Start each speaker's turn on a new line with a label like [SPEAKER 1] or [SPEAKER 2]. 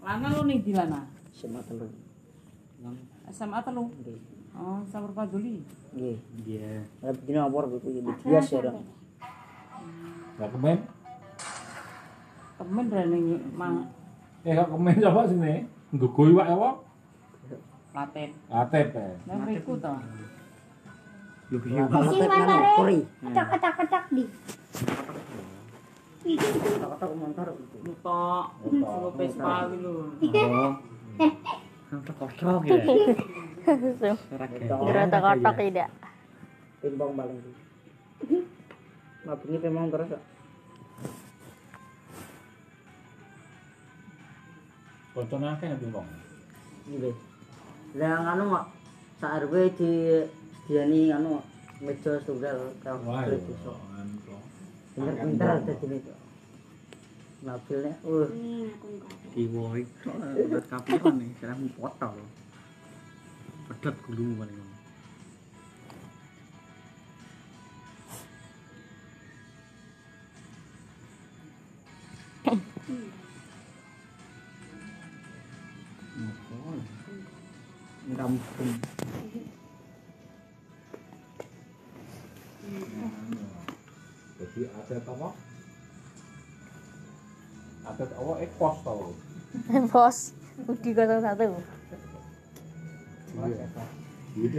[SPEAKER 1] Lana lu nih di Lana.
[SPEAKER 2] SMA telu.
[SPEAKER 1] SMA telu.
[SPEAKER 2] Nggih.
[SPEAKER 1] Oh, sama Paduli.
[SPEAKER 2] Nggih.
[SPEAKER 3] Iya.
[SPEAKER 2] Lah dina apa kuwi kuwi di bias ya dong.
[SPEAKER 3] Gak kemen.
[SPEAKER 1] Temen berani mang
[SPEAKER 3] Eh gak kemen coba sini. Nggugui wak apa?
[SPEAKER 1] Laten.
[SPEAKER 3] Atep. eh.
[SPEAKER 1] Lah mriku to.
[SPEAKER 2] Lah,
[SPEAKER 4] Sing
[SPEAKER 2] lepet nang
[SPEAKER 4] mantare
[SPEAKER 2] kori.
[SPEAKER 4] ketak-ketak-ketak di. Iki
[SPEAKER 2] Kotak montor itu.
[SPEAKER 1] Nutok. Solo Vespa kuwi lho.
[SPEAKER 4] iki
[SPEAKER 5] Kotok ya.
[SPEAKER 6] Gerotok-gerotok tidak.
[SPEAKER 2] Timbang paling. Mabungi memang terus. kok.
[SPEAKER 3] Kocoknya akeh nggak bingung.
[SPEAKER 2] Nggih. Lah anu kok sak RW di diani anu kok, meja tunggal
[SPEAKER 3] Wah.
[SPEAKER 2] kalau
[SPEAKER 3] iya.
[SPEAKER 2] desa.
[SPEAKER 3] Anu.
[SPEAKER 2] Pinter-pinter dadi meja. Mobilnya, uh,
[SPEAKER 4] Ini aku enggak.
[SPEAKER 5] Kiwoi. Udah kapan nih? Saya mau potong. Pedet gulung paling.
[SPEAKER 2] rampung.
[SPEAKER 3] Jadi atlet apa? Atlet apa? Eh pos tau.
[SPEAKER 6] Bos, Budi 01.
[SPEAKER 3] Iya. Iya.